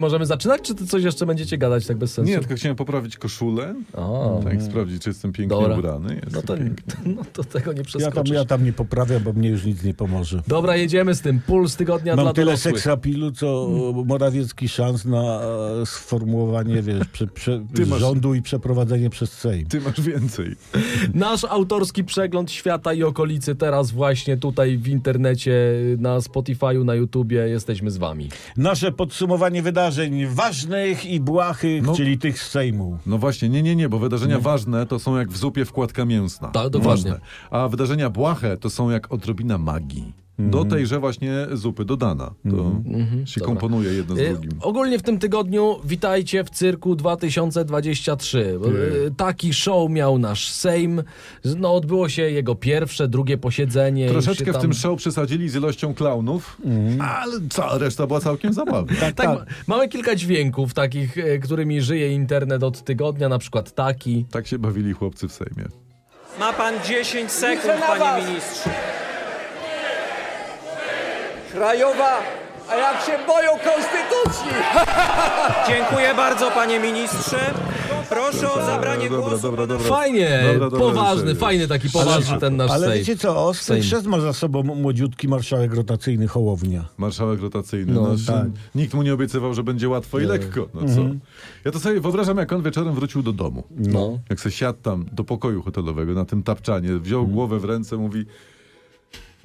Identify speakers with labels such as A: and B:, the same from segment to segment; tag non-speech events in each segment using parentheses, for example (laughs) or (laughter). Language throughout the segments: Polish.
A: Możemy zaczynać, czy ty coś jeszcze będziecie gadać tak bez sensu?
B: Nie, tylko chciałem poprawić koszulę.
A: O,
B: tak, sprawdzić, czy jestem pięknie
A: Dobra.
B: ubrany. Jestem
A: no to,
B: piękny.
A: (laughs) no to tego nie
C: Ja tam,
A: przeskoczysz.
C: ja tam nie poprawiam, bo mnie już nic nie pomoże.
A: Dobra, jedziemy z tym. Puls tygodnia dla
C: Mam tyle
A: dorosłych. Mm.
C: seksapilu, co Morawiecki szans na e, sformułowanie wiesz, prze,
A: (laughs)
C: prze,
B: Ty masz-
C: rządu i przeprowadzenie przez Sejm.
B: Ty masz więcej.
A: Nasz autorski przegląd świata i okolicy teraz właśnie tutaj w internecie, na Spotify'u, na YouTubie. Jesteśmy z wami.
C: Nasze podsumowanie wydarzeń ważnych i błahych,
B: No.
C: czyli tych z Sejmu.
B: No właśnie, nie, nie, nie, bo wydarzenia ważne to są jak w zupie wkładka mięsna. No
A: Tak, dokładnie.
B: Ważne. A wydarzenia błahe to są jak odrobina magii.
A: Mhm.
B: Do tejże właśnie zupy dodana. To się
A: Dobra.
B: komponuje jedno z
A: E,
B: drugim.
A: Ogólnie w tym tygodniu witajcie w cyrku 2023. E, Taki show miał nasz Sejm. No, odbyło się jego pierwsze, drugie posiedzenie. Już się
B: Troszeczkę w
A: tam- Mhm.
B: tym show przesadzili z ilością klaunów, ale cała reszta była całkiem zabawna.
A: (laughs) Tak, ma- mamy kilka dźwięków takich, e, którymi żyje internet od tygodnia, na przykład taki.
B: Tak się bawili chłopcy w Sejmie.
D: Ma pan 10 sekund, panie ministrze.
E: Krajowa, a jak się boją konstytucji!
D: Dziękuję bardzo, panie ministrze. Proszę o zabranie
B: Dobra,
D: głosu.
B: dobra,
D: pana-
B: dobra.
A: Fajnie,
B: Dobra, dobra,
A: poważny,
B: już, już.
A: fajny taki poważny ten nasz
C: Ale
A: Sejm.
C: wiecie co, ostry
A: Sejm.
C: chrzest ma za sobą młodziutki marszałek rotacyjny Hołownia.
B: Marszałek rotacyjny.
A: No,
B: No,
C: tak.
B: Nikt mu nie obiecywał, że będzie łatwo i lekko. No co?
C: Mhm.
B: Ja to sobie wyobrażam, jak on wieczorem wrócił do domu.
A: No.
B: Jak se siadł tam do pokoju hotelowego na tym tapczanie, wziął
C: Mhm.
B: głowę w ręce, mówi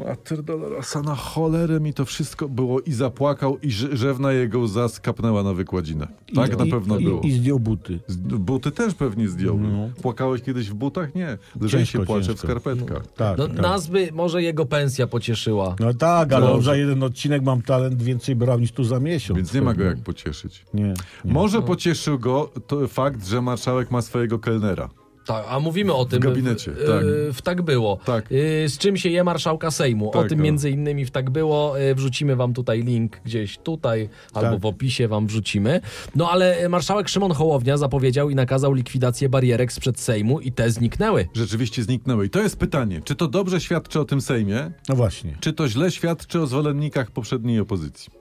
B: Mater dolorosa, na cholerę mi to wszystko było i zapłakał i ż- rzewna jego łza skapnęła na wykładzinę. Tak
C: I,
B: na pewno
C: i,
B: było.
C: I, I zdjął buty.
B: Z- Buty też pewnie zdjąłby. Płakałeś kiedyś w butach? Nie. Lżej się
C: Ciężko,
B: płacze w
C: ciężko.
B: skarpetkach.
C: Tak,
A: No,
C: tak.
A: Nas by może jego pensja pocieszyła.
C: No tak, ale on
A: Dobrze.
C: za jeden odcinek mam talent więcej brał niż tu za miesiąc.
B: Więc nie ma go jak pocieszyć.
C: Nie.
B: Może pocieszył go to fakt, że marszałek ma swojego kelnera.
A: Tak, a mówimy o tym.
B: gabinecie,
A: w,
B: tak.
A: e, w tak było.
B: Tak.
A: E, Z czym się je marszałka Sejmu? o
B: Tak,
A: tym
B: no.
A: między innymi w tak było. E, Wrzucimy wam tutaj link gdzieś tutaj,
C: Tak.
A: albo w opisie wam wrzucimy. No ale e, marszałek Szymon Hołownia zapowiedział i nakazał likwidację barierek sprzed Sejmu i te zniknęły.
B: Rzeczywiście zniknęły. I to jest pytanie, czy to dobrze świadczy o tym Sejmie,
C: No właśnie.
B: czy to źle świadczy o zwolennikach poprzedniej opozycji?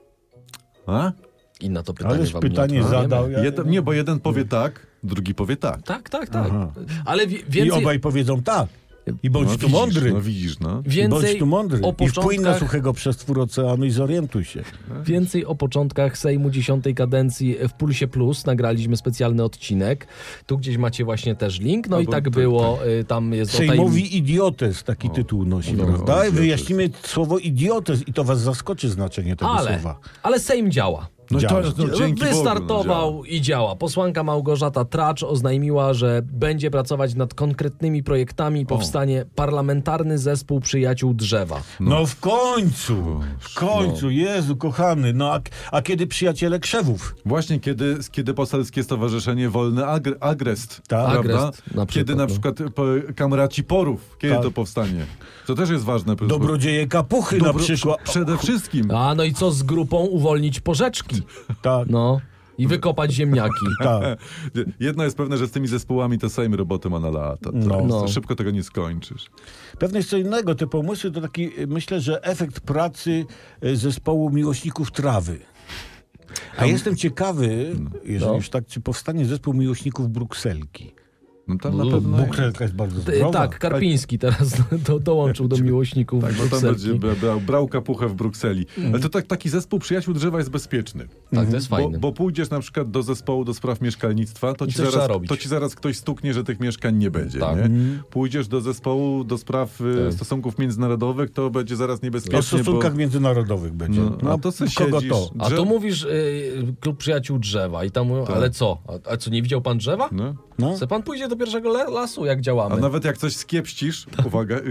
B: A?
A: I na to pytanie
C: Ależ
A: wam
C: pytanie
B: no.
A: nie odpowiemy.
C: zadał. Ja...
B: Jeden, nie, bo jeden powie tak, drugi powie tak.
A: Tak, tak, tak.
C: Aha.
A: Ale wi-
C: I
A: więcej,
C: obaj powiedzą tak. I
B: No
C: bądź tu
B: widzisz,
C: mądry.
B: No widzisz, no.
C: I
A: więcej
C: bądź tu mądry.
A: o
C: I wpłyń na
A: początkach-
C: suchego przestwór oceanu i zorientuj się.
A: Więcej o początkach Sejmu dziesiątej kadencji w Pulsie Plus nagraliśmy specjalny odcinek. Tu gdzieś macie właśnie też link. No i
B: Albo
A: tak
B: tak,
A: było, y, tam jest o tajemnicy.
C: Sejmowi idiotes taki tytuł nosi.
A: no,
B: dobra,
C: prawda?
B: idiotes.
C: Wyjaśnimy słowo idiotes i to was zaskoczy znaczenie tego
A: Ale,
C: słowa.
A: ale Sejm działa.
B: No
C: działa.
B: no, dzięki Bogu, no,
A: Wystartował
B: działa.
A: i działa. Posłanka Małgorzata Tracz oznajmiła, że będzie pracować nad konkretnymi projektami i powstanie parlamentarny zespół przyjaciół drzewa.
C: No, w końcu,
A: No,
C: w końcu, Jezu kochany, no a, a kiedy przyjaciele krzewów?
B: Właśnie kiedy, kiedy poselskie stowarzyszenie Wolny Agr Agrest,
C: Tak.
B: prawda?
A: Agrest na
B: kiedy
A: przykład,
B: na
A: no.
B: przykład e, po, kamraci porów, kiedy
C: Tak.
B: to powstanie? To też jest ważne. proszę
C: Dobrodzieje kapuchy
B: Dobro-
C: na przykład.
B: Przede wszystkim.
A: A no i co z grupą uwolnić porzeczki?
C: Tak,
A: No i wykopać
B: (laughs)
A: ziemniaki.
C: tak.
B: Jedno jest pewne, że z tymi zespołami to Sejm roboty ma na lata. To
C: No.
B: jest-
A: No.
B: Szybko tego nie skończysz.
C: Pewnie jest co innego, te pomysły to taki, y, myślę, że efekt pracy e, zespołu miłośników trawy. A jestem ciekawy, jeżeli
A: No.
C: już tak, czy powstanie zespół miłośników brukselki.
B: No tam na
A: No,
B: pewno...
C: Brukselka jest bardzo
A: Y,
C: zdrowa.
A: Tak, Karpiński teraz (laughs) do, dołączył do miłośników.
B: Tak, bo tam
A: Brukselki.
B: będzie brał, brał kapuchę w Brukseli. Ale to tak, taki zespół przyjaciół drzewa jest bezpieczny.
A: Tak, to jest
B: Bo,
A: fajne.
B: Mhm. bo pójdziesz na przykład do zespołu do spraw mieszkalnictwa, to ci,
A: coś trzeba
B: zaraz,
A: robić.
B: to ci zaraz ktoś stuknie, że tych mieszkań nie będzie.
A: Tak.
B: Nie? Pójdziesz do zespołu do spraw y, stosunków międzynarodowych, to będzie zaraz niebezpiecznie.
C: O stosunkach
B: bo...
C: międzynarodowych będzie.
B: No, a to co
C: kogo
B: siedzisz?
C: to?
A: A
B: drzew- Tak.
A: tu mówisz y, klub przyjaciół drzewa i tam mówią, ale co? A, a co, nie widział pan drzewa?
B: No.
C: No.
A: Se pan pójdzie do pierwszego le- lasu, jak działamy.
B: A nawet jak coś skiepścisz,
C: Tak.
B: uwaga, y,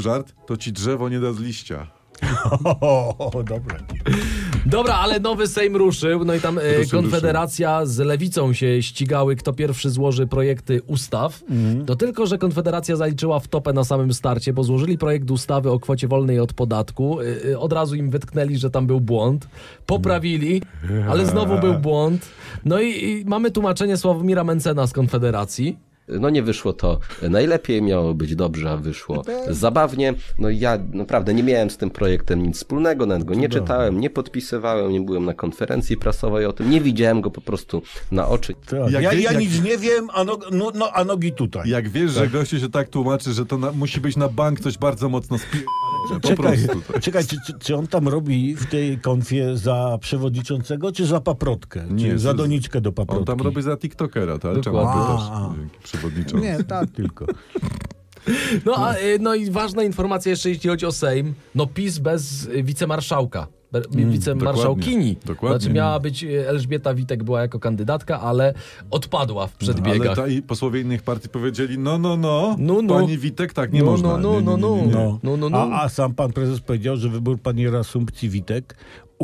B: żart, to ci drzewo nie da z liścia.
C: (laughs) O, o, o, dobre.
A: Dobra, ale nowy Sejm ruszył, no i tam y,
B: Ruszył,
A: Konfederacja z Lewicą się ścigały, kto pierwszy złoży projekty ustaw.
B: Mhm.
A: No tylko, że Konfederacja zaliczyła w topę na samym starcie, bo złożyli projekt ustawy o kwocie wolnej od podatku. Y, y, od razu im wytknęli, że tam był błąd. Poprawili, ale znowu był błąd. No i, i mamy tłumaczenie Sławomira Mencena z Konfederacji.
F: No nie wyszło to najlepiej, miało być dobrze, a wyszło zabawnie. No i ja naprawdę nie miałem z tym projektem nic wspólnego, nawet go nie czytałem, nie podpisywałem, nie byłem na konferencji prasowej o tym, nie widziałem go po prostu na oczy.
C: Tak.
B: Jak
C: ja
B: wie-
C: ja
B: jak-
C: nic nie wiem, a, no, no, no, a nogi tutaj.
B: Jak wiesz, że gościu się tak tłumaczy, że to na, musi być na bank coś bardzo mocno spi... Po
C: Czekaj,
B: prostu. tak.
C: czekaj czy, czy, czy on tam robi w tej konfie za przewodniczącego, czy za paprotkę?
B: Nie,
C: czy za
B: to-
C: doniczkę do paprotki?
B: On tam robi za TikTokera, tak? Czemu
A: Dokładnie.
B: pytasz?
C: A, a.
B: Dzięki, Przewodniczący.
C: Nie, tak tylko.
A: No, a, y, no i ważna informacja jeszcze, jeśli chodzi o Sejm. No PiS bez y, wicemarszałka. Be- wicemarszałkini.
B: Mm, dokładnie, dokładnie.
A: Znaczy miała być y, Elżbieta Witek była jako kandydatka, ale odpadła w
B: Ale
A: przedbiegach.
B: ta, i posłowie innych partii powiedzieli, no, no, no,
A: No, no.
B: pani Witek tak nie
A: No,
B: można.
A: no, no,
B: nie, nie, nie, nie, nie.
A: no. No, no, no.
C: A, a sam pan prezes powiedział, że wybór pani Reasumpcji Witek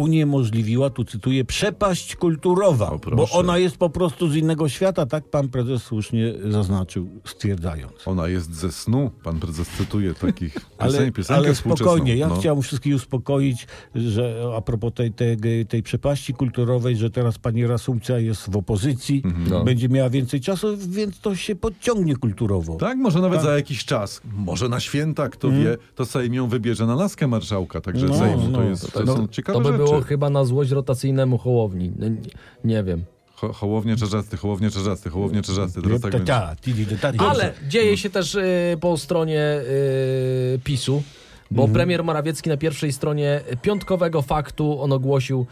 C: uniemożliwiła, tu cytuję, przepaść kulturowa,
B: O, proszę.
C: bo ona jest po prostu z innego świata, tak pan prezes słusznie zaznaczył, stwierdzając.
B: Ona jest ze snu, pan prezes cytuje takich
C: Ale,
B: piosen, piosenkę
C: ale
B: współczesną.
C: spokojnie, ja
B: no.
C: chciałem wszystkich uspokoić, że a propos tej, tej, tej przepaści kulturowej, że teraz pani Reasumpcja jest w opozycji, będzie miała więcej czasu, więc to się podciągnie kulturowo.
B: Tak, może nawet za jakiś czas, może na święta, kto wie, to Sejm ją wybierze na laskę marszałka, także
C: Mm. No,
B: Sejm
C: no.
B: to jest, to, są ciekawe
A: to by
B: rzeczy.
A: było chyba na złość rotacyjnemu Hołowni. No, nie, nie wiem.
B: Ho, hołownie czerzasty, hołownie czerzasty, hołownie czerzasty, teraz tak
C: Ta-
B: będzie.
C: ta, ti- ti- ta- ta- ta-
A: Ale dzieje się też y, po stronie y, PiSu, bo
B: Mhm.
A: premier Morawiecki na pierwszej stronie piątkowego faktu on ogłosił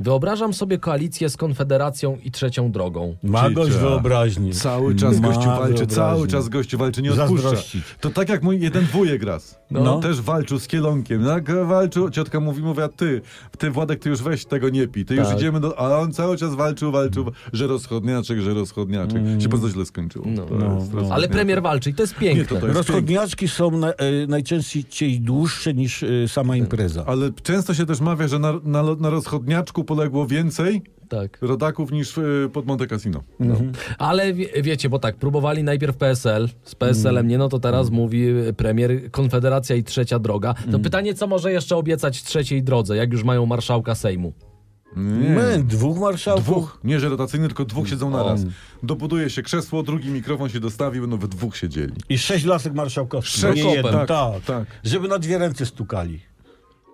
A: Wyobrażam sobie koalicję z Konfederacją i Trzecią Drogą.
C: Ma gość
B: Cicia.
C: wyobraźni.
B: Cały czas
C: Ma
B: gościu walczy,
C: wyobraźnię.
B: cały czas gościu walczy, nie odpuszcza.
C: Zazdrości.
B: To tak jak mój jeden wujek raz. No.
C: No.
B: Też walczył z kielonkiem. Tak, walczył, ciotka mówi, mówi, a ty, ty Władek, ty już weź tego nie pij. Ty już
C: Tak.
B: idziemy do... A on cały czas walczył, walczył, że rozchodniaczek, że rozchodniaczek.
C: Mm.
B: Się bardzo źle skończyło.
C: No,
B: To jest rozchodniaczek.
A: Ale premier walczy i to jest
B: Nie, No, to
A: piękne.
B: to jest
C: Rozchodniaczki są na, e, najczęściej dłuższe niż e, sama impreza.
B: Ale często się też mawia, że na, na, na rozchodniaczku poległo więcej
A: Tak.
B: rodaków niż y, pod Monte Cassino.
A: Ale wie, wiecie, bo tak, próbowali najpierw PSL, z
B: Mm.
A: PSL-em nie, no to teraz mówi premier Konfederacja i Trzecia Droga. To
B: Mm.
A: pytanie, co może jeszcze obiecać Trzeciej Drodze, jak już mają marszałka Sejmu?
C: My, dwóch marszałków.
B: Dwóch, nie że rotacyjny, tylko dwóch siedzą na raz. Dobuduje się krzesło, drugi mikrofon się dostawi, będą we dwóch siedzieli.
C: I sześć lasek marszałkowskich.
B: Sześć,
C: nie jeden,
B: tak,
C: tak,
B: tak.
C: Żeby na dwie ręce stukali.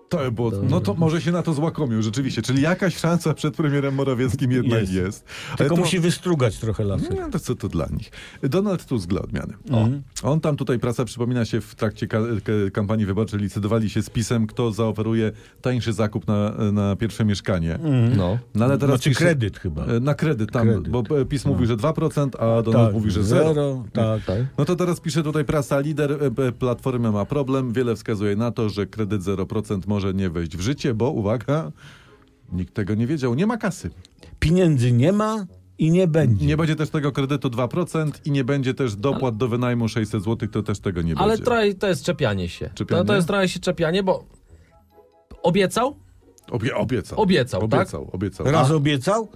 B: To by było, no to może się na to złakomił rzeczywiście, czyli jakaś szansa przed premierem Morawieckim jednak jest.
C: Jest.
B: Ale
C: Tylko
B: to-
C: musi wystrugać trochę lasek.
B: No to co to dla nich? Donald Tusk dla odmiany. O.
C: Mhm.
B: On tam tutaj, prasa przypomina się, w trakcie ka- k- kampanii wyborczej licytowali się z pisem, kto zaoferuje tańszy zakup na, na pierwsze mieszkanie.
A: No.
B: No ale teraz
C: Znaczy kredyt chyba.
B: E, Na kredyt tam,
C: Kredyt. No.
B: bo e, PiS mówił, że 2%, a Donald No, mówi, że 0.
C: Tak.
A: Tak.
B: No to teraz pisze tutaj prasa, lider e, e, Platformy ma problem, wiele wskazuje na to, że kredyt 0% może nie wejść w życie, bo uwaga, nikt tego nie wiedział, nie ma kasy.
C: Pieniędzy nie ma i nie będzie.
B: Nie będzie też tego kredytu 2% i nie będzie też dopłat do wynajmu 600 zł, to też tego nie
A: Ale
B: będzie.
A: trochę to jest czepianie się.
B: Czepianie?
A: To, to jest trochę się czepianie, bo obiecał?
B: Obie, obiecał.
A: Obiecał, tak?
B: Obiecał, obiecał.
C: Raz obiecał,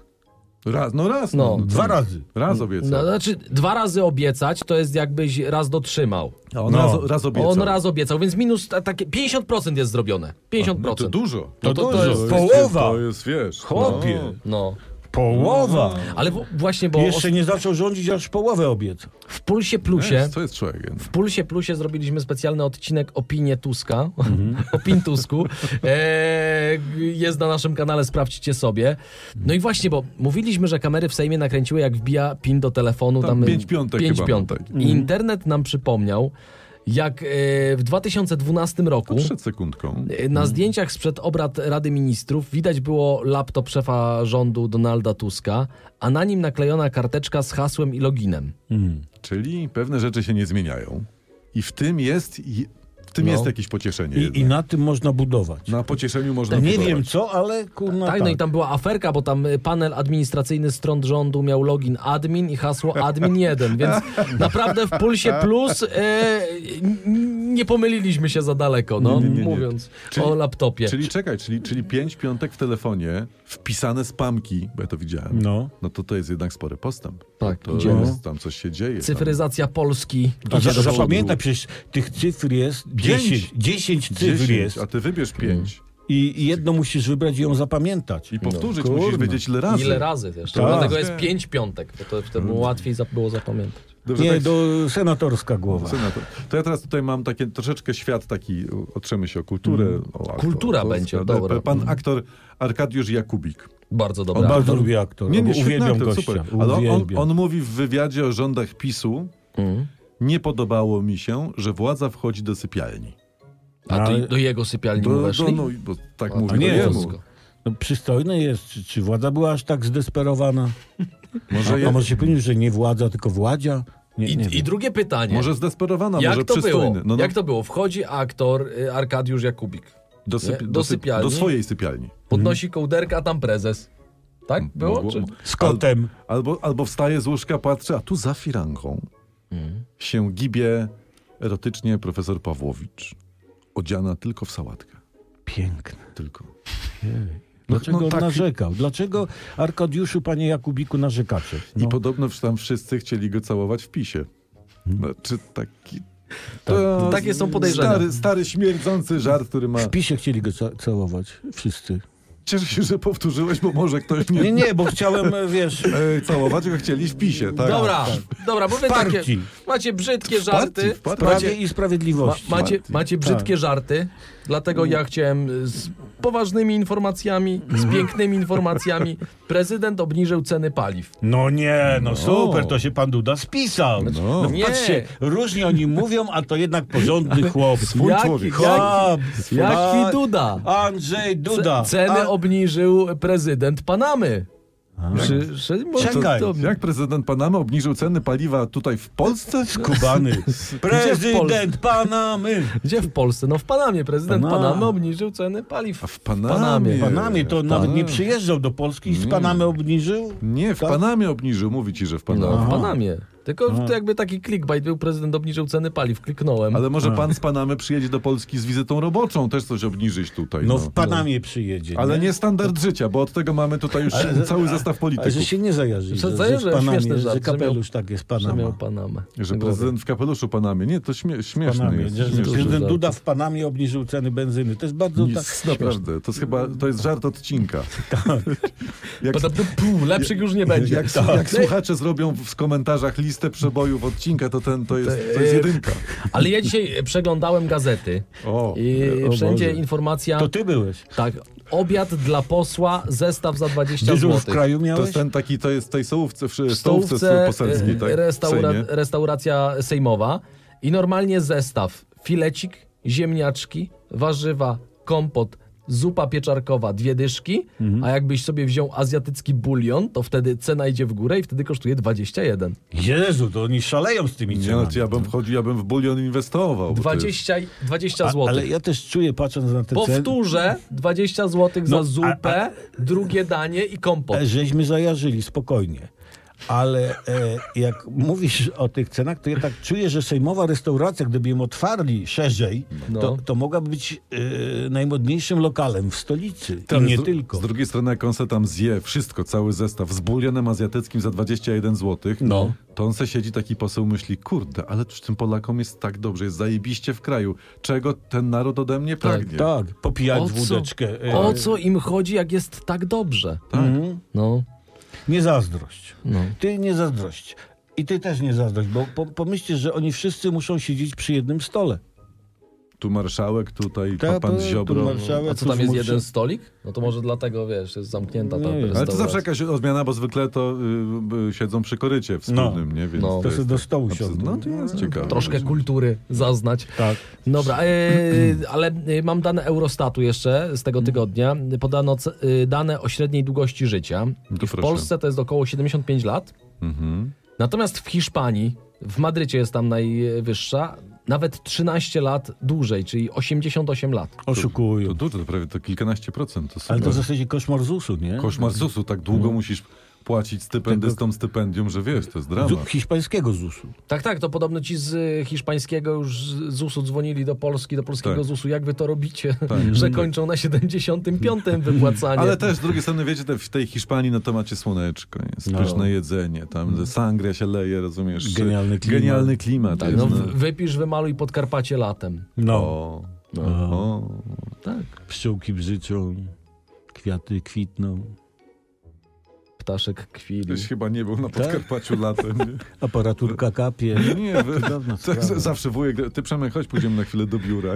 B: Raz, no raz.
A: No,
C: dwa razy.
B: Raz obiecał.
A: No, znaczy, dwa razy obiecać to jest jakbyś raz dotrzymał.
B: On
C: No.
B: raz, raz obiecał.
A: On raz obiecał, więc minus ta- takie 50% jest zrobione. 50%.
B: No to dużo.
A: To- to- to jest
C: połowa.
B: To jest, wiesz...
C: Chłopie.
B: no.
A: No.
C: Połowa.
A: Ale w, właśnie, bo
C: Jeszcze nie zaczął rządzić, aż połowę obiecał.
A: w Pulsie
B: Wiesz,
A: Plusie
B: co jest człowiekiem?
A: W Pulsie Plusie zrobiliśmy specjalny odcinek Opinie Tuska,
B: Mhm.
A: (laughs) o Pintusku. Eee, jest na naszym kanale, sprawdźcie sobie. No i właśnie, bo mówiliśmy, że kamery w Sejmie nakręciły, jak wbija pin do telefonu.
B: Tam pięć piątek
A: pięć
B: chyba Mhm.
A: piątek.
B: mam
A: I internet nam przypomniał, jak e, w 2012 roku... e,
B: Przed sekundką.
A: Na zdjęciach sprzed obrad Rady Ministrów widać było laptop szefa rządu Donalda Tuska, a na nim naklejona karteczka z hasłem i loginem.
B: Czyli pewne rzeczy się nie zmieniają. I w tym jest, i w tym
A: No.
B: jest jakieś pocieszenie.
C: I,
B: jednak.
C: I na tym można budować.
B: Na pocieszeniu można
C: No Nie
B: budować.
C: wiem co, ale kurna
A: Tak,
C: tak.
A: no i tam była aferka, bo tam y, panel administracyjny stron rządu miał login admin i hasło admin1, więc naprawdę w Pulsie Plus y, n- n- nie pomyliliśmy się za daleko, no,
B: nie, nie, nie.
A: mówiąc
B: Czyli-
A: o laptopie.
B: Czyli czekaj, czyli, czyli pięć piątek w telefonie, wpisane spamki, bo ja to widziałem.
C: No.
B: No to to jest jednak spory postęp.
A: Tak,
B: to
A: idzie.
B: jest, tam coś się dzieje.
A: Cyfryzacja Polski.
C: A
A: idzie
C: za-
A: do przodu.
C: Zapamiętaj, przecież tych cyfr jest
B: Pięć.
C: 10. 10
B: tam.
C: cyfr
B: 10,
C: jest.
B: a ty wybierz pięć.
C: I i jedno musisz wybrać i ją zapamiętać.
B: I powtórzyć
C: No,
B: musisz
C: kurna.
B: wiedzieć ile razy. Mm.
A: Ile razy też.
C: Tak.
A: Dlatego jest pięć piątek, bo to wtedy łatwiej za- było zapamiętać.
B: Dobrze,
C: Nie,
B: tak-
C: do senatorska głowa.
B: Senator. To ja teraz tutaj mam takie troszeczkę świat taki, otrzemy się o kulturę.
C: Mm.
B: O aktor-
A: Kultura
B: aktorstwo.
A: będzie, dobra.
B: Pan aktor Arkadiusz Jakubik.
A: Bardzo
C: On
A: dobra.
C: bardzo lubi aktor.
B: Tak. Nie, nie, świetny
C: Uwielbiam
B: aktor,
C: gościa.
B: super. Ale on, on,
C: Uwielbiam. Mm.
B: on mówi w wywiadzie o rządach PiSu. Nie podobało mi się, że władza wchodzi do sypialni.
A: A ty
C: Ale-
A: do jego sypialni
B: No, Do,
A: mu
B: do,
A: weszli?
B: no, bo tak
A: A,
B: mówi
A: tak
B: nie,
C: nie,
B: jemu.
A: bosko.
C: No, przystojny jest. Czy, czy władza była aż tak zdesperowana?
B: Może,
C: A
B: je,
C: może się pomylił, że nie władza, tylko władzia? Nie,
A: I,
C: nie
A: I
C: wiem.
A: drugie pytanie.
B: może zdesperowana,
A: Jak
B: może
A: to było?
B: przystojny. No, no,
A: Jak to było? Wchodzi aktor y, Arkadiusz Jakubik.
B: do, syp,
A: nie? Do
B: do, syp,
A: sypialni?
B: do swojej sypialni.
A: Podnosi kołderkę, a tam prezes. Tak było?
B: Mogło-
A: Czy...
C: Z kotem.
B: Albo, albo wstaje z łóżka, patrzy, a tu za firanką
A: Mm.
B: się gibie erotycznie profesor Pawłowicz. Odziana tylko w sałatkę.
C: Piękne.
B: Tylko.
C: Dlaczego
B: no
C: on
B: tak.
C: narzekał? Dlaczego Arkadiuszu, panie Jakubiku, narzekacie? No.
B: I
A: No.
B: podobno tam wszyscy chcieli go całować w pisie. Znaczy taki... To
A: Mm. Tak, Takie są podejrzenia.
B: Stary, stary śmierdzący żart, który ma...
C: W PiSie chcieli go ca- całować. Wszyscy.
B: Cieszę się, że powtórzyłeś, bo może ktoś nie,
C: Nie, nie, bo chciałem, e, wiesz...
B: e, całować, go chcieli w pisie. Tak?
A: Dobra, dobra, bo wy takie.
C: partii.
A: Macie brzydkie żarty.
B: partii, w partii. Tak.
C: Prawie
A: Macie,
C: i
A: ma,
C: sprawiedliwości.
A: macie, macie brzydkie żarty, dlatego
B: Mm.
A: ja chciałem y, z poważnymi informacjami, z pięknymi informacjami. Prezydent obniżył ceny paliw.
C: No nie, no super, to się pan Duda spisał. No.
A: Nie.
C: patrzcie, różnie o nim mówią, a to jednak porządny chłop. Swój
A: Jaki-
B: człowiek.
C: Chłop.
A: Jaki
C: A-
A: Duda?
C: Andrzej Duda.
A: C- ceny
C: A-
A: obniżył prezydent Panamy. Czy, czy, może
C: Czekaj.
A: to-
B: Jak prezydent Panamy obniżył ceny paliwa tutaj w Polsce?
A: (laughs)
C: Kubany. Prezydent Panamy.
A: Gdzie w Polsce? No w Panamie. Prezydent
C: Panama.
A: Panamy obniżył ceny paliw.
B: A w Panamie.
A: Panamie.
C: W Panamie to nawet nie
B: Panamie.
C: Mm. przyjeżdżał do Polski i z Panamy obniżył.
B: Nie, w
C: Tak?
B: Panamie obniżył, mówi ci, że w Panamie.
A: No, w Panamie. Tylko to jakby taki clickbait był, prezydent obniżył ceny paliw. Kliknąłem.
B: Ale
C: Tak.
B: może pan z Panamy przyjedzie do Polski z wizytą roboczą, też coś obniżyć tutaj.
C: No w Panamie przyjedzie.
B: Ale nie standard życia, bo od tego mamy tutaj już cały zestaw
C: Ale
B: polityków.
C: że się nie zajarzy.
A: Że
C: Że, że,
A: zajarzył,
C: że,
A: śmieszny
C: Panamie,
A: żart,
C: że
A: że
C: kapelusz tak jest
A: że
C: Panama.
A: miał Panamę.
B: Że
A: na głowie.
B: prezydent w kapeluszu Panamie. Nie, to śmie śmieszne
C: Panamie.
B: jest.
C: Że, że
B: Śmieszne.
C: prezydent
A: żart.
C: Duda w Panamie obniżył ceny benzyny. To jest bardzo tak...
B: Nic, naprawdę, to jest chyba, to jest żart
C: (laughs)
B: odcinka. (laughs) Jak,
A: Poza tym, puu,
B: (laughs)
A: lepszych już nie będzie. Tak.
B: jak, jak słuchacze zrobią w komentarzach listę przebojów odcinka, to ten, to jest, to jest jedynka.
A: Ale ja dzisiaj e, przeglądałem gazety
B: O,
A: i
C: o
A: wszędzie
C: Boże.
A: informacja,
C: To ty byłeś.
A: tak, obiad dla posła, zestaw za 20
C: Dyżur w
A: zł.
C: kraju
B: to
C: miałeś?
B: jest ten taki, to jest w tej stołówce, w
A: W
B: stołówce,
A: stołówce
B: poselskiej,
A: e,
B: tak?
A: restaura
B: W Sejmie.
A: restauracja sejmowa i normalnie zestaw, filecik, ziemniaczki, warzywa, kompot, zupa pieczarkowa, dwie dyszki,
C: Mhm.
A: a jakbyś sobie wziął azjatycki bulion, to wtedy cena idzie w górę i wtedy kosztuje 21.
C: Jezu, to oni szaleją z tymi
B: Nie, no,
C: cenami.
B: to ja bym wchodził, ja bym w bulion inwestował. bo to
A: 20, i- 20
C: A-
A: zł.
C: Ale ja też czuję, patrząc na te ceny,
A: Powtórzę, 20 zł za
C: No, a-
A: zupę, drugie danie i kompot.
C: e, żeśmy zajarzyli spokojnie. Ale e, jak mówisz o tych cenach, to ja tak czuję, że sejmowa restauracja, gdyby ją otwarli szerzej,
A: No.
C: to, to mogłaby być e, najmodniejszym lokalem w stolicy. I nie
B: z, dru-
C: tylko.
B: Z drugiej strony, jak on se tam zje wszystko, cały zestaw z bulionem azjatyckim za 21 zł,
C: No.
B: to on se siedzi taki poseł myśli, kurde, ale czy tym Polakom jest tak dobrze, jest zajebiście w kraju. Czego ten naród ode mnie pragnie?
C: Tak,
A: O
C: popijać
A: co,
C: wódeczkę. e,
A: o co im chodzi, jak jest tak dobrze?
C: Mhm.
A: No.
C: Nie zazdrość.
A: No.
C: Ty nie zazdrość. I ty też nie zazdrość, bo po, pomyślcie, że oni wszyscy muszą siedzieć przy jednym stole.
B: Tu marszałek, tutaj
C: Ta,
B: pan
C: tu
B: z Ziobro. no.
C: marszałek,
A: A co
C: tu
A: tam jest
C: mówczy-
A: jeden stolik? No to może dlatego, wiesz, jest zamknięta ta
C: Nie wiem.
B: Ale to zawsze
A: restauracja.
B: jakaś odmiana, bo zwykle to y, y, siedzą przy korycie wspólnym, nie? Więc
A: No.
B: to
C: To
B: jest,
C: sobie do stołu siądą.
B: no to jest ciekawe.
A: Troszkę kultury zaznać.
C: Tak.
A: Dobra, e, ale e, mam dane Eurostatu jeszcze z
B: Mm.
A: tego tygodnia. Podano c- e, dane o średniej długości życia.
B: No to
A: I w
B: proszę.
A: Polsce to jest około 75 lat.
B: Mhm.
A: Natomiast w Hiszpanii, w Madrycie jest tam najwyższa, nawet 13 lat dłużej, czyli 88 lat.
B: To
C: Oszukują.
B: dużo, to prawie to kilkanaście procent. To
C: Ale to
B: super.
C: w zasadzie koszmar ZUS-u, nie?
B: Koszmar ZUS-u, tak długo musisz płacić stypendystom stypendium, że wiesz, to jest
C: Zu-
B: dramat.
C: hiszpańskiego ZUS-u.
A: Tak, tak, to podobno ci z y, hiszpańskiego już z ZUS-u dzwonili do Polski, do polskiego
B: Tak.
A: ZUS-u, jak wy to robicie, (laughs) że kończą na 75 wypłacanie.
B: Ale też z drugiej strony, wiecie, te, w tej Hiszpanii no to macie słoneczko, jest pyszne jedzenie, tam ze sangria się leje, rozumiesz?
C: Genialny klimat.
B: Genialny klimat
A: Tak,
B: jest,
A: no,
B: no.
A: w- wypisz, wymaluj Podkarpacie latem.
C: No.
B: O, o.
A: Tak.
C: Pszczółki brzyczą, kwiaty kwitną.
A: ptaszek kwili.
B: Ktoś chyba nie był na Podkarpaciu latem.
C: (laughs)
B: Nie,
C: Aparaturka kapie.
B: nie wy,
C: Cudowna
B: tak,
C: sprawa.
B: zawsze wujek, ty Przemek, chodź pójdziemy na chwilę do biura.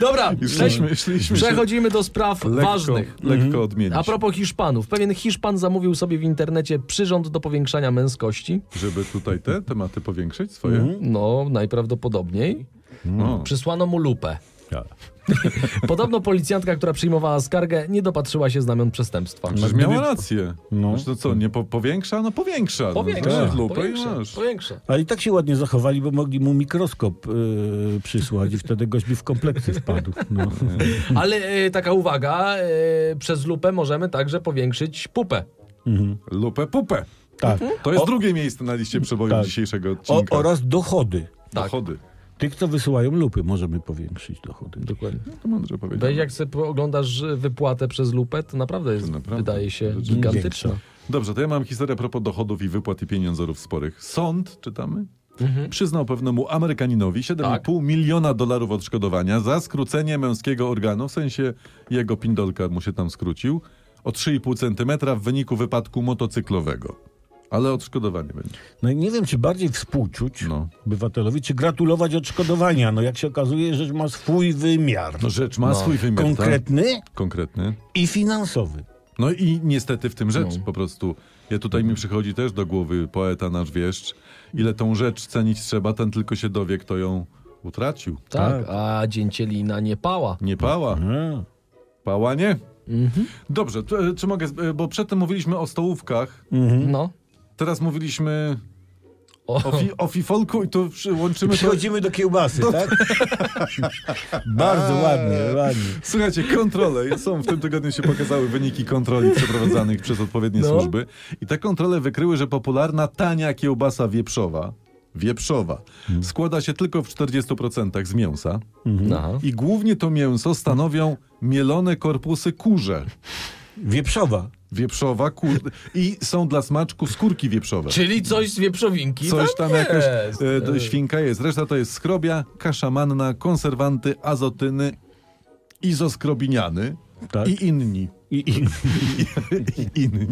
A: Dobra,
B: I
A: przejdź-
B: szliśmy, szliśmy się
A: przechodzimy do spraw
B: lekko,
A: No. ważnych.
B: lekko odmienić,
A: A propos Hiszpanów. Pewien Hiszpan zamówił sobie w internecie przyrząd do powiększania męskości.
B: żeby tutaj te tematy powiększyć swoje.
A: No, najprawdopodobniej.
B: No.
A: Przysłano mu lupę. Podobno policjantka, która przyjmowała skargę, nie dopatrzyła się znamion przestępstwa.
B: Przecież
C: mieli-
B: miała rację. No. Znaczy, to co, nie po, powiększa? No powiększa. no,
A: Powiększa,
B: Masz lupę i
A: powiększa,
B: masz.
A: powiększa.
C: A i tak się ładnie zachowali, bo mogli mu mikroskop yy, przysłać i wtedy gość by w kompleksy wpadł. No.
A: Ale e, taka uwaga, e, przez lupę możemy także powiększyć pupę.
B: Lupę pupę.
C: Tak.
B: To jest drugie miejsce na liście przebojów
C: Tak.
B: dzisiejszego
C: O,
B: odcinka.
C: oraz dochody.
A: tak.
B: Dochody.
C: Tych, co wysyłają lupy, możemy powiększyć dochody.
A: Dokładnie.
B: To mądrze
A: Weź,
B: powiedzieć.
A: jak sobie oglądasz rzepłatę przez lupę, to naprawdę jest,
B: To naprawdę.
A: wydaje się,
B: Rzecz
A: gigantyczna.
C: większa.
B: Dobrze, to ja mam historię a propos dochodów i wypłat i pieniądzorów sporych. Sąd, czytamy, przyznał pewnemu Amerykaninowi 7,5 miliona dolarów odszkodowania za skrócenie męskiego organu, w sensie jego pindolka mu się tam skrócił, o 3,5 centymetra w wyniku wypadku motocyklowego. Ale odszkodowanie będzie.
C: No i nie wiem, czy bardziej współczuć
B: No.
C: obywatelowi, czy gratulować odszkodowania. No jak się okazuje, rzecz ma swój wymiar.
B: No rzecz ma swój wymiar. tak?
C: Konkretny
B: Konkretny.
C: i finansowy.
B: No i niestety w tym rzecz po prostu. Ja tutaj mi przychodzi też do głowy poeta nasz wieszcz. Ile tą rzecz cenić trzeba, ten tylko się dowie, kto ją utracił.
A: Tak, a dzięcielina nie pała.
B: Nie pała.
C: A.
B: Pała nie. Dobrze, to, e, czy mogę, z- e, bo przedtem mówiliśmy o stołówkach,
A: No.
B: teraz mówiliśmy
A: O,
B: o, fi, o fifolku i tu przy- łączymy to...
C: Przechodzimy do kiełbasy, tak? Bardzo ładnie, ładnie.
B: Słuchajcie, kontrole są. W tym tygodniu się pokazały wyniki kontroli przeprowadzanych przez odpowiednie
A: No.
B: służby. I te kontrole wykryły, że popularna tania kiełbasa wieprzowa, wieprzowa, składa się tylko w 40% z mięsa.
A: aha.
B: I głównie to mięso stanowią mielone korpusy kurze.
C: Wieprzowa.
B: Wieprzowa, kur... I są dla smaczku skórki wieprzowe.
A: Czyli coś z wieprzowinki
B: Coś tam
A: jest.
B: jakaś e, do, świnka jest. Reszta to jest skrobia, kasza manna, konserwanty, azotyny, izoskrobiniany
C: Tak.
B: i inni.
C: I, i,
B: I inni.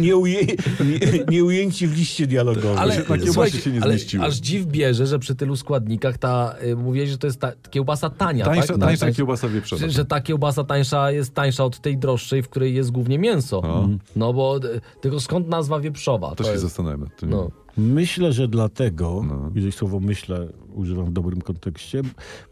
C: nie, uje, nie, nie ujęci w liście dialogowym.
A: Ale,
B: się takie właśnie
A: słuchajcie,
B: się nie
A: ale
B: zmieściły.
A: aż dziw bierze, że przy tylu składnikach ta, y, mówiłeś, że to jest ta kiełbasa tania,
B: Tańsza,
A: tak?
B: tańsza kiełbasa wieprzowa.
A: Że, że ta kiełbasa tańsza jest tańsza od tej droższej, w której jest głównie mięso. No bo y, tylko skąd nazwa wieprzowa?
B: Też
A: To
B: się
A: jest-
B: zastanawiam nad tym.
A: no.
C: Myślę, że dlatego,
B: No.
C: jeżeli słowo myślę używam w dobrym kontekście,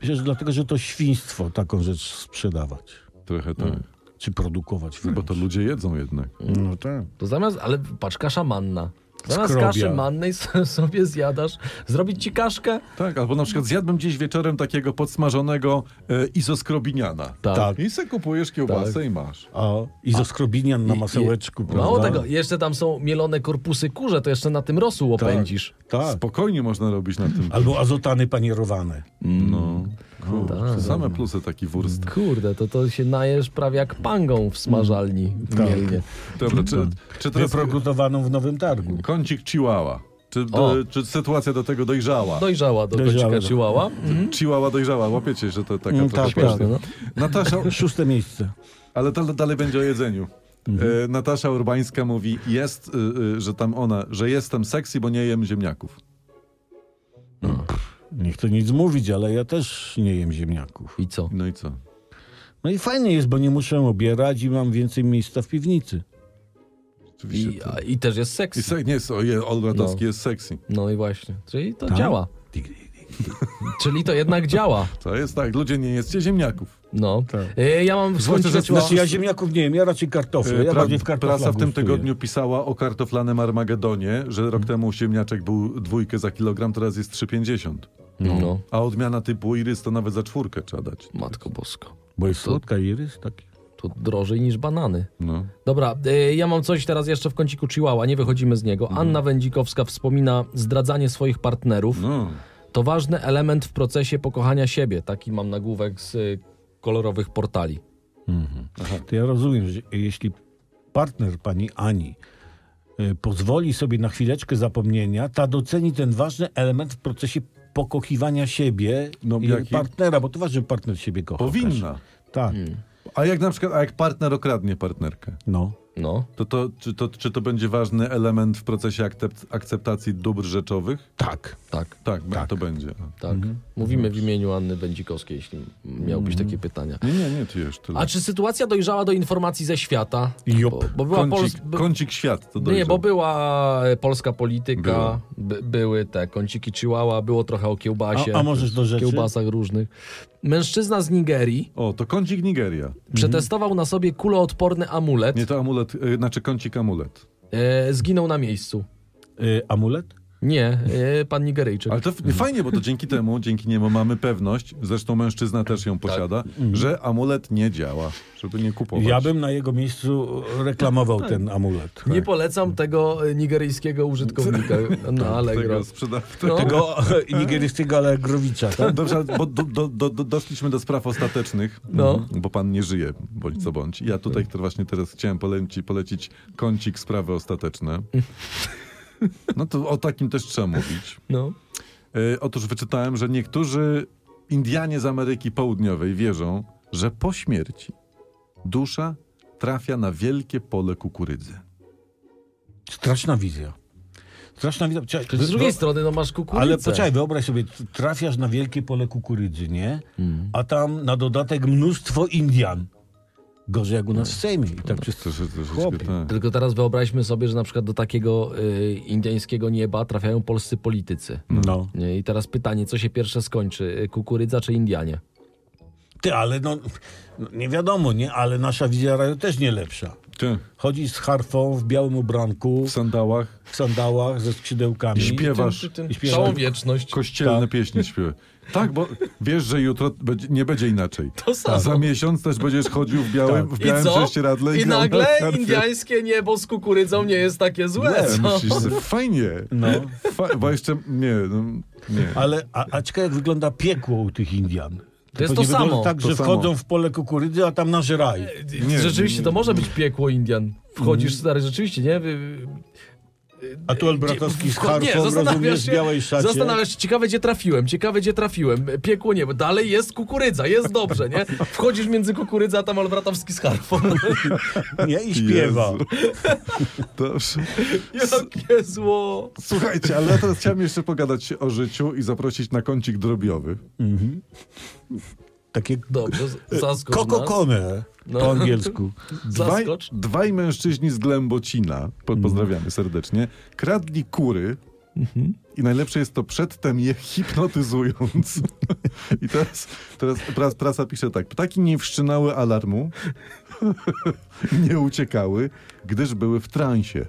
C: myślę, że dlatego, że to świństwo taką rzecz sprzedawać.
B: Trochę tak.
A: Mm.
B: No
C: Czy produkować
B: Bo
C: wręcz.
B: to ludzie jedzą jednak.
C: No tak.
A: To zamiast, ale patrz, kasza manna. Zamiast
C: Skrobia.
A: kaszy mannej (laughs) s- sobie zjadasz, zrobić ci kaszkę?
B: Tak, albo na przykład zjadłem gdzieś wieczorem takiego podsmażonego e, izoskrobiniana.
A: Tak.
C: Tak.
B: I se kupujesz kiełbasę i masz.
C: A, I ze skrobinian na masełeczku,
A: Je-
C: prawda?
A: Mało
B: Tak.
A: tego, jeszcze tam są mielone korpusy kurze, to jeszcze na tym rosół opędzisz.
C: Tak.
B: Spokojnie można robić na tym.
C: Albo azotany panierowane.
B: No, kurczę,
A: tak.
B: same plusy taki wurst.
A: Mm. Kurde, to to się najesz prawie jak pangą w smażalni w
B: Mm.
C: Tak.
A: Mielnie.
B: Dobra,
A: Mm.
B: czy, czy teraz
C: Wyprodukowaną w Nowym Targu.
B: kącik chihuahua? Czy,
A: O. No
B: e, czy sytuacja do tego dojrzała?
A: Dojrzała do
C: Dojrzała,
A: kocika
C: tak.
A: chihuahua.
B: Chihuahua dojrzała, łapiecie, że to taka
C: Mm,
B: trochę
C: tak, tak,
B: właśnie.
A: no.
B: Natasza,
C: Szóste miejsce.
B: ale to dalej będzie o jedzeniu.
C: Mhm.
B: E, Natasza Urbańska mówi, jest, y, y, że tam ona, że jestem sexy, bo nie jem ziemniaków.
C: Nie chcę nic mówić, ale ja też nie jem ziemniaków.
A: I co?
B: No i co?
C: No i fajnie jest, bo nie muszę obierać i mam więcej miejsca w piwnicy.
B: Oczywiście.
A: I, a, I też jest
B: I
A: seks.
B: se, nie, so, je, Olbratowski jest sexy.
A: No i właśnie. Czyli to działa. Czyli to jednak działa.
B: To jest tak, ludzie nie jedzcie ziemniaków. E,
A: No.
C: Tak.
A: Y, Ja mam
B: Zwłaszcza, że
A: skończyć
B: No.
C: Znaczy ja ziemniaków nie jem, ja raczej kartofle. Ja
B: E,
C: bardziej w
B: pra-
C: kartoflach
B: prasa w tym
C: gustuję. Mhm.
B: tygodniu pisała o kartoflanym Armagedonie, że rok temu ziemniaczek był dwójkę za kilogram, teraz jest 3,50.
A: No,
B: A odmiana typu Iris to nawet za czwórkę trzeba dać.
C: No,
A: matko bosko.
C: Bo jest słodka irys, tak?
A: To drożej niż banany.
B: No.
A: Dobra, y, ja mam coś teraz jeszcze w kąciku Chihuahua, nie wychodzimy z niego. Anna Wędzikowska wspomina zdradzanie swoich partnerów.
B: no.
A: To ważny element w procesie pokochania siebie. Taki mam nagłówek z y, kolorowych portali.
C: To ja rozumiem, że jeśli partner pani Ani y, pozwoli sobie na chwileczkę zapomnienia, ta doceni ten ważny element w procesie pokochiwania siebie
B: No,
C: i
B: jaki-
C: partnera, bo to ważne, że partner siebie kocha.
B: Powinna.
A: Hmm.
C: też. Tak,
B: A jak na przykład, a jak partner okradnie partnerkę?
C: no.
A: No.
B: To, to, czy, to, czy to będzie ważny element w procesie akcept, akceptacji dóbr rzeczowych?
C: Tak.
A: Tak,
B: Tak, to będzie.
A: tak.
B: Mhm.
A: Mówimy w imieniu Anny Będzikowskiej, jeśli miałbyś takie pytania.
B: Nie, nie, nie, ty już tyle.
A: A czy sytuacja dojrzała do informacji ze świata?
C: Jup.
A: Bo, bo była
B: kącik,
A: Pols- bo-
B: kącik świat to
A: Nie,
B: dojrzał.
A: bo była e, polska polityka,
B: Była.
A: by, były te kąciki chihuahua, było trochę o kiełbasie.
C: A- a możesz do rzeczy?
A: Kiełbasach różnych. Mężczyzna z Nigerii
B: O, to kącik Nigeria.
A: przetestował na sobie kuloodporny amulet,
B: Nie to amulet, e, znaczy kącik amulet.
A: e, zginął na miejscu.
C: Y, amulet?
A: Nie, e, pan Nigeryjczyk.
B: Ale to f- fajnie, bo to dzięki temu, dzięki niemu mamy pewność, zresztą mężczyzna też ją posiada, że amulet nie działa, żeby nie kupować.
C: Ja bym na jego miejscu reklamował ten amulet. Tak.
A: Nie polecam tego e, nigeryjskiego
B: (laughs)
A: użytkownika na
B: Tak,
A: Allegro.
B: tego sprzeda...
A: No.
C: Tego e, nigeryjskiego Alegrowicza, tak?
B: Dobrze, ale bo do, do, do, do, doszliśmy do spraw ostatecznych, mm,
A: No.
B: bo pan nie żyje, bądź co bądź. Ja tutaj to właśnie teraz chciałem polecić, polecić kącik sprawy ostateczne. No to o takim też trzeba mówić.
A: No.
B: E, otóż wyczytałem, że niektórzy Indianie z Ameryki Południowej wierzą, że po śmierci dusza trafia na wielkie pole kukurydzy.
C: Straszna wizja. Straszna wizja. Czekaj,
A: Z drugiej
C: wyo-
A: strony, no masz kukurydzę.
C: Ale poczekaj, wyobraź sobie, trafiasz na wielkie pole kukurydzy, nie?
A: Mm.
C: A tam na dodatek mnóstwo Indian. Gorzej jak u nas w Sejmie. I tak przez...
B: Trosze- troszeczkę
C: Chłopie.
B: tak.
A: Tylko teraz wyobraźmy sobie, że na przykład do takiego y, indyjskiego nieba trafiają polscy politycy.
C: No.
A: Nie, I teraz pytanie, co się pierwsze skończy? y, Kukurydza czy Indianie?
C: Ty, ale no, no, nie wiadomo, nie? Ale nasza wizja raju też nie lepsza.
B: Ty,
C: Chodzisz z harfą w białym ubranku,
B: w sandałach
C: w sandałach, ze skrzydełkami.
B: śpiewasz
C: I śpiewasz.
A: Całą wieczność.
B: kościelne pieśni śpiewasz. Tak, bo wiesz, że jutro będzie, nie będzie inaczej.
A: To samo. Tak.
B: Za miesiąc też będziesz chodził w białym, w
A: I
B: białym
A: co?
B: prześcieradle
A: I,
B: grał na
A: nagle
B: harfie.
A: indyjskie niebo z kukurydzą nie jest takie złe,
B: Nie,
A: co?
B: E, myślisz, że fajnie.
C: No.
B: Fa- bo jeszcze, nie, no, nie.
C: Ale, a, a ciekawe jak wygląda piekło u tych Indian.
A: jest
C: pewnie
A: to
C: wygląda
A: samo.
C: tak,
B: To
C: że
B: samo.
C: wchodzą w pole kukurydzy, a tam nażerają.
B: Nie,
A: rzeczywiście,
B: nie,
A: to może być piekło Indian. Wchodzisz, stary, rzeczywiście, nie? Wy- wy-
C: A tu Albratowski z
A: wcho- (laughs) nie,
C: harfą, rozumiesz, w białej szacie.
A: zastanawiasz się, ciekawe gdzie trafiłem, ciekawe gdzie trafiłem. Piekło nie, bo dalej jest kukurydza, jest dobrze, nie? Wchodzisz między kukurydza, a tam Albratowski z harfą.
C: Nie, i śpiewa.
B: Jezu. Dobrze.
A: (laughs) Jakie zło!
B: Słuchajcie, ale ja teraz chciałem jeszcze pogadać o życiu i zaprosić na kącik drobiowy.
C: Takie
A: Dobrze, z- zaskocz nas.
C: kokokone
A: No.
C: po angielsku.
B: Dwaj,
A: Zaskocz.
B: dwaj mężczyźni z Glębocina, po, pozdrawiamy serdecznie, kradli kury i najlepsze jest to przedtem je hipnotyzując. (laughs) I teraz, teraz pras, prasa pisze tak. Ptaki nie wszczynały alarmu, (laughs) nie uciekały, gdyż były w transie.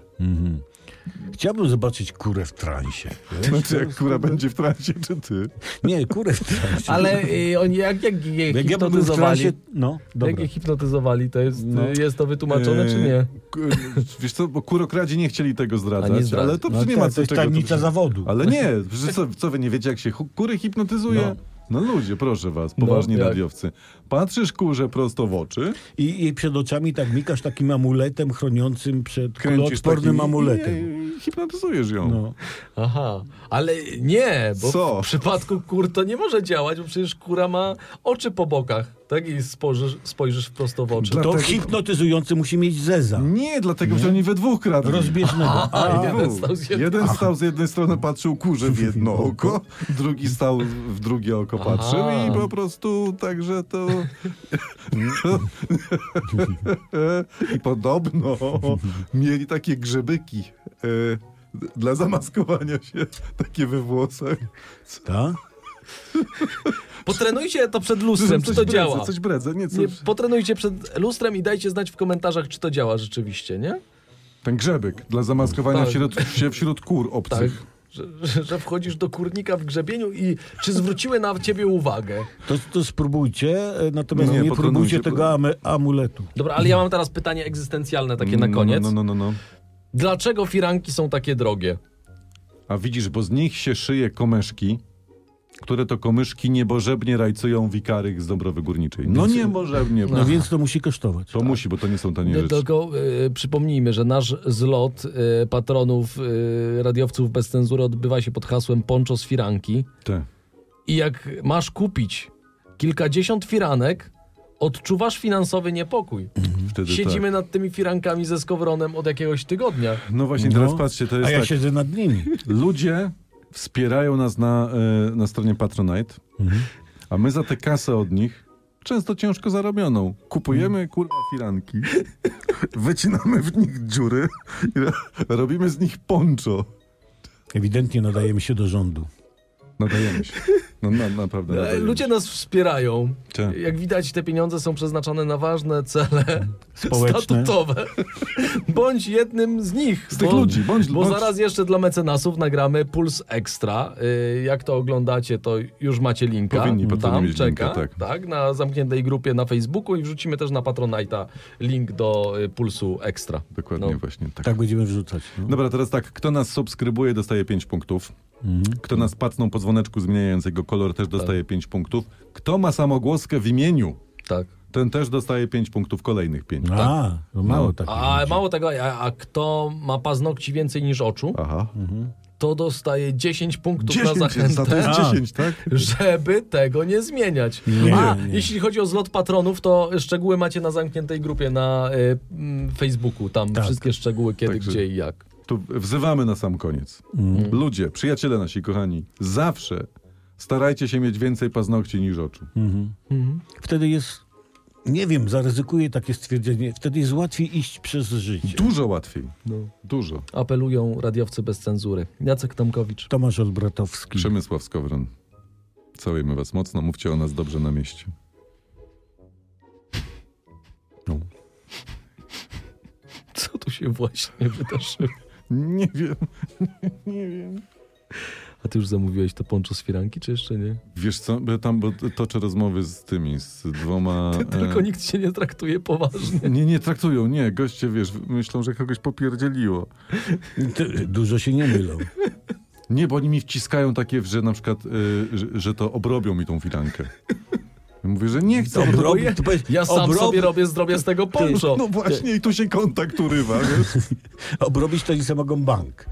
C: Chciałbym zobaczyć kurę w transie. wiesz?
B: Znaczy, jak kura będzie w transie, czy ty?
C: Nie, kurę w transie.
A: Ale y, oni jak, jak je
C: jak ja bym był w
A: hipnotyzowali,
C: transie... No,
A: jak
C: dobra.
A: je hipnotyzowali, to jest,
C: No.
A: y, jest to wytłumaczone, czy
B: Eee,
A: nie?
B: k- Wiesz co, bo kurokradzi nie chcieli tego
A: A nie
B: zdradzać,
A: zdradzę.
B: ale to
C: No
B: nie
C: tak,
B: ma
C: to
B: co
C: jest
B: czego tu
C: tajemnica
B: przy-
C: zawodu.
B: Ale nie, że co, co wy nie wiecie, jak się hu- kury hipnotyzuje? No ludzie, proszę was, poważni
A: No, jak?
B: radiowcy. Patrzysz kurze prosto w oczy,
C: I, I przed oczami tak mikasz takim amuletem chroniącym przed
B: kręcisz takim
C: kuloodpornym
B: i-
C: amuletem.
B: i- i hipnotyzujesz ją.
C: No.
A: Aha, ale nie, bo
B: Co?
A: w przypadku kur to nie może działać, bo przecież kura ma oczy po bokach, tak? I spojrzysz, spojrzysz prosto w oczy.
B: Dla-
C: To
B: Dlatego-
C: hipnotyzujący musi mieć zeza.
B: Nie, dlatego że oni we dwóch kradli.
C: Rozbieżnego.
B: We
C: A,
A: jeden
B: dwóch.
A: stał z jed-
B: Jeden stał z jednej strony, patrzył kurze w (laughs) jedno oko, drugi stał w drugie oko, patrzył
A: Aha.
B: i po prostu także to... (laughs) I podobno mieli takie grzebyki e, dla zamaskowania się, takie we włosach.
C: ta?
A: Potrenujcie to przed lustrem, czy
B: Coś
A: to
B: bredzę,
A: działa.
B: Coś bredzę, nie, co,
A: Nie, potrenujcie przed lustrem i dajcie znać w komentarzach, czy to działa rzeczywiście, nie?
B: Ten grzebyk dla zamaskowania
A: Tak.
B: wśród, się wśród kur
A: Tak.
B: obcych.
A: Że, że- że wchodzisz do kurnika w grzebieniu i czy zwróciły na ciebie uwagę?
C: To, to spróbujcie, e, natomiast
B: Nie,
C: nie,
B: pokonujcie,
C: próbujcie
B: bo-
C: tego ame, amuletu.
A: Dobra, ale ja mam teraz pytanie egzystencjalne takie na
B: No,
A: koniec.
B: No, no, no, no.
A: Dlaczego firanki są takie drogie?
B: A widzisz, bo z nich się szyje komeszki, które to komyszki niebożebnie rajcują wikarych z Dąbrowy Górniczej. No niebożebnie.
C: No
B: No,
C: więc to musi kosztować.
B: to musi, bo to nie są tanie
A: Nie,
B: rzeczy.
A: tylko y, przypomnijmy, że nasz zlot y, patronów y, radiowców bez cenzury odbywa się pod hasłem Poncho z firanki.
B: Te.
A: I jak masz kupić kilkadziesiąt firanek, odczuwasz finansowy niepokój.
B: Wtedy
A: Siedzimy
B: tak.
A: nad tymi firankami ze skowronem od jakiegoś tygodnia.
B: No właśnie, teraz patrzcie, to jest
C: A ja
B: tak.
C: siedzę nad nimi.
B: Ludzie wspierają nas na, e, na stronie Patronite, a my za tę kasę od nich, często ciężko zarobioną, kupujemy kurwa firanki, (laughs) wycinamy w nich dziury i ro- robimy z nich poncho.
C: Ewidentnie nadajemy się do rządu.
B: Nadajemy się. No na, naprawdę.
A: E,
B: nadajemy
A: Ludzie
B: się.
A: nas wspierają.
B: Tak.
A: Jak widać, te pieniądze są przeznaczone na ważne cele
C: Społeczne.
B: (laughs)
A: statutowe. Bądź jednym z nich.
B: Z tych ludzi, bądź-
A: Bo
B: bądź-
A: zaraz jeszcze dla mecenasów nagramy Puls Extra. Y, Jak to oglądacie, to już macie linka.
B: Powinni,
A: Tam
B: powinni mieć
A: czeka,
B: linka, tak.
A: na zamkniętej grupie na Facebooku i wrzucimy też na Patronite'a link do y, Pulsu Extra.
B: Dokładnie
A: No.
B: właśnie tak.
C: Tak będziemy wrzucać. No.
B: Dobra, teraz tak, kto nas subskrybuje, dostaje 5 punktów. Kto nas pacną po dzwoneczku zmieniając jego kolor, też dostaje 5 punktów. Kto ma samogłoskę w imieniu,
A: Tak.
B: ten też dostaje 5 punktów, kolejnych 5.
C: A, no mało
B: No.
C: takich.
A: A
C: ludzi.
A: mało tego, a, a kto ma paznokci więcej niż oczu,
B: Aha.
A: to dostaje 10 punktów na
B: 10
A: zachętę.
B: za to jest
C: A.
B: 10, tak?
A: Mhm. żeby tego nie zmieniać.
C: Nie,
A: A
C: nie.
A: jeśli chodzi o zlot patronów, to szczegóły macie na zamkniętej grupie na y, mm, Facebooku. Tam
C: Tak.
A: wszystkie szczegóły, kiedy,
B: Także-
A: gdzie i jak.
B: Tu wzywamy na sam koniec. Ludzie, przyjaciele nasi kochani, zawsze starajcie się mieć więcej paznokci niż oczu.
C: Wtedy jest, nie wiem, zaryzykuję takie stwierdzenie, wtedy jest łatwiej iść przez życie.
B: Dużo łatwiej. Dużo.
A: Apelują radiowcy bez cenzury. Jacek Tomkowicz. (laughs)
C: Tomasz Olbratowski.
B: Przemysław Skowron. Całujemy was mocno, mówcie o nas dobrze na mieście.
A: Co tu się właśnie wydarzyło?
B: Nie wiem.
A: A ty już zamówiłeś to ponczo z firanki, czy jeszcze nie?
B: Wiesz co, bo tam bo toczę rozmowy z tymi, z
A: (laughs)
B: dwoma... e,
A: Tylko nikt się nie traktuje poważnie.
B: Nie, nie traktują, nie. Goście, wiesz, myślą, że kogoś popierdzieliło.
C: Ty, dużo się nie mylą.
B: Nie, bo oni mi wciskają takie, że na przykład, y, że, że to obrobią mi tą firankę. Ja Mówię, że nie chcę.
C: Obro-
A: Próbuję.
C: to powiedz-
A: Ja sam
C: obrob-
A: sobie robię, zrobię z tego ponczo.
B: No właśnie, i tu się kontakt urywa, wiesz?
C: Obrobić to nie mogą bank.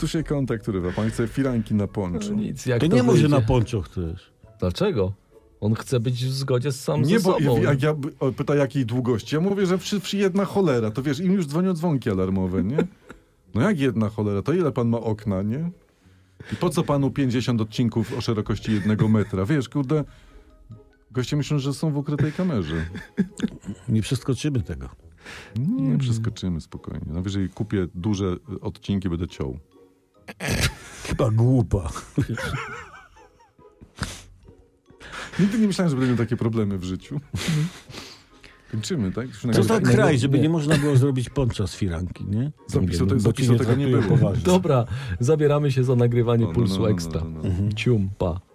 B: Tu się kontakt urywa. Pan chce firanki na ponczu.
A: Nic, jak
C: To
A: to
C: nie może
A: wyjdzie.
C: na ponczoch też.
A: Dlaczego? On chce być w zgodzie z sam
B: Nie,
A: ze
B: bo
A: sobą.
B: ja- jak ja by- o, pyta jakiej długości, ja mówię, że przy, przy jedna cholera, to wiesz, im już dzwonią dzwonki alarmowe, nie? No jak jedna cholera, to ile pan ma okna, nie? I po co panu 50 odcinków o szerokości jednego metra? Wiesz, kurde, goście myślą, że są w ukrytej kamerze.
C: Nie przeskoczymy tego.
B: Nie,
A: Mm.
B: przeskoczymy spokojnie. No jeżeli kupię duże y, odcinki, będę ciął.
C: Chyba głupa.
B: Nigdy nie myślałem, że będę miał takie problemy w życiu.
A: Mm.
B: Kończymy, tak? Już
C: To
B: nagrywamy.
C: tak
A: nie,
C: kraj, żeby
A: nie.
C: nie można było zrobić poncza z firanki, nie?
B: Zapisu
C: nie
B: te-
C: wiem, bo
B: zapisu
C: cię
B: tego nie
C: traktują
B: było.
C: poważnie.
A: Dobra, zabieramy się za nagrywanie
B: No, no, no,
A: Pulsu
B: no, no,
A: Ekstra.
B: no, no.
A: Cium, pa.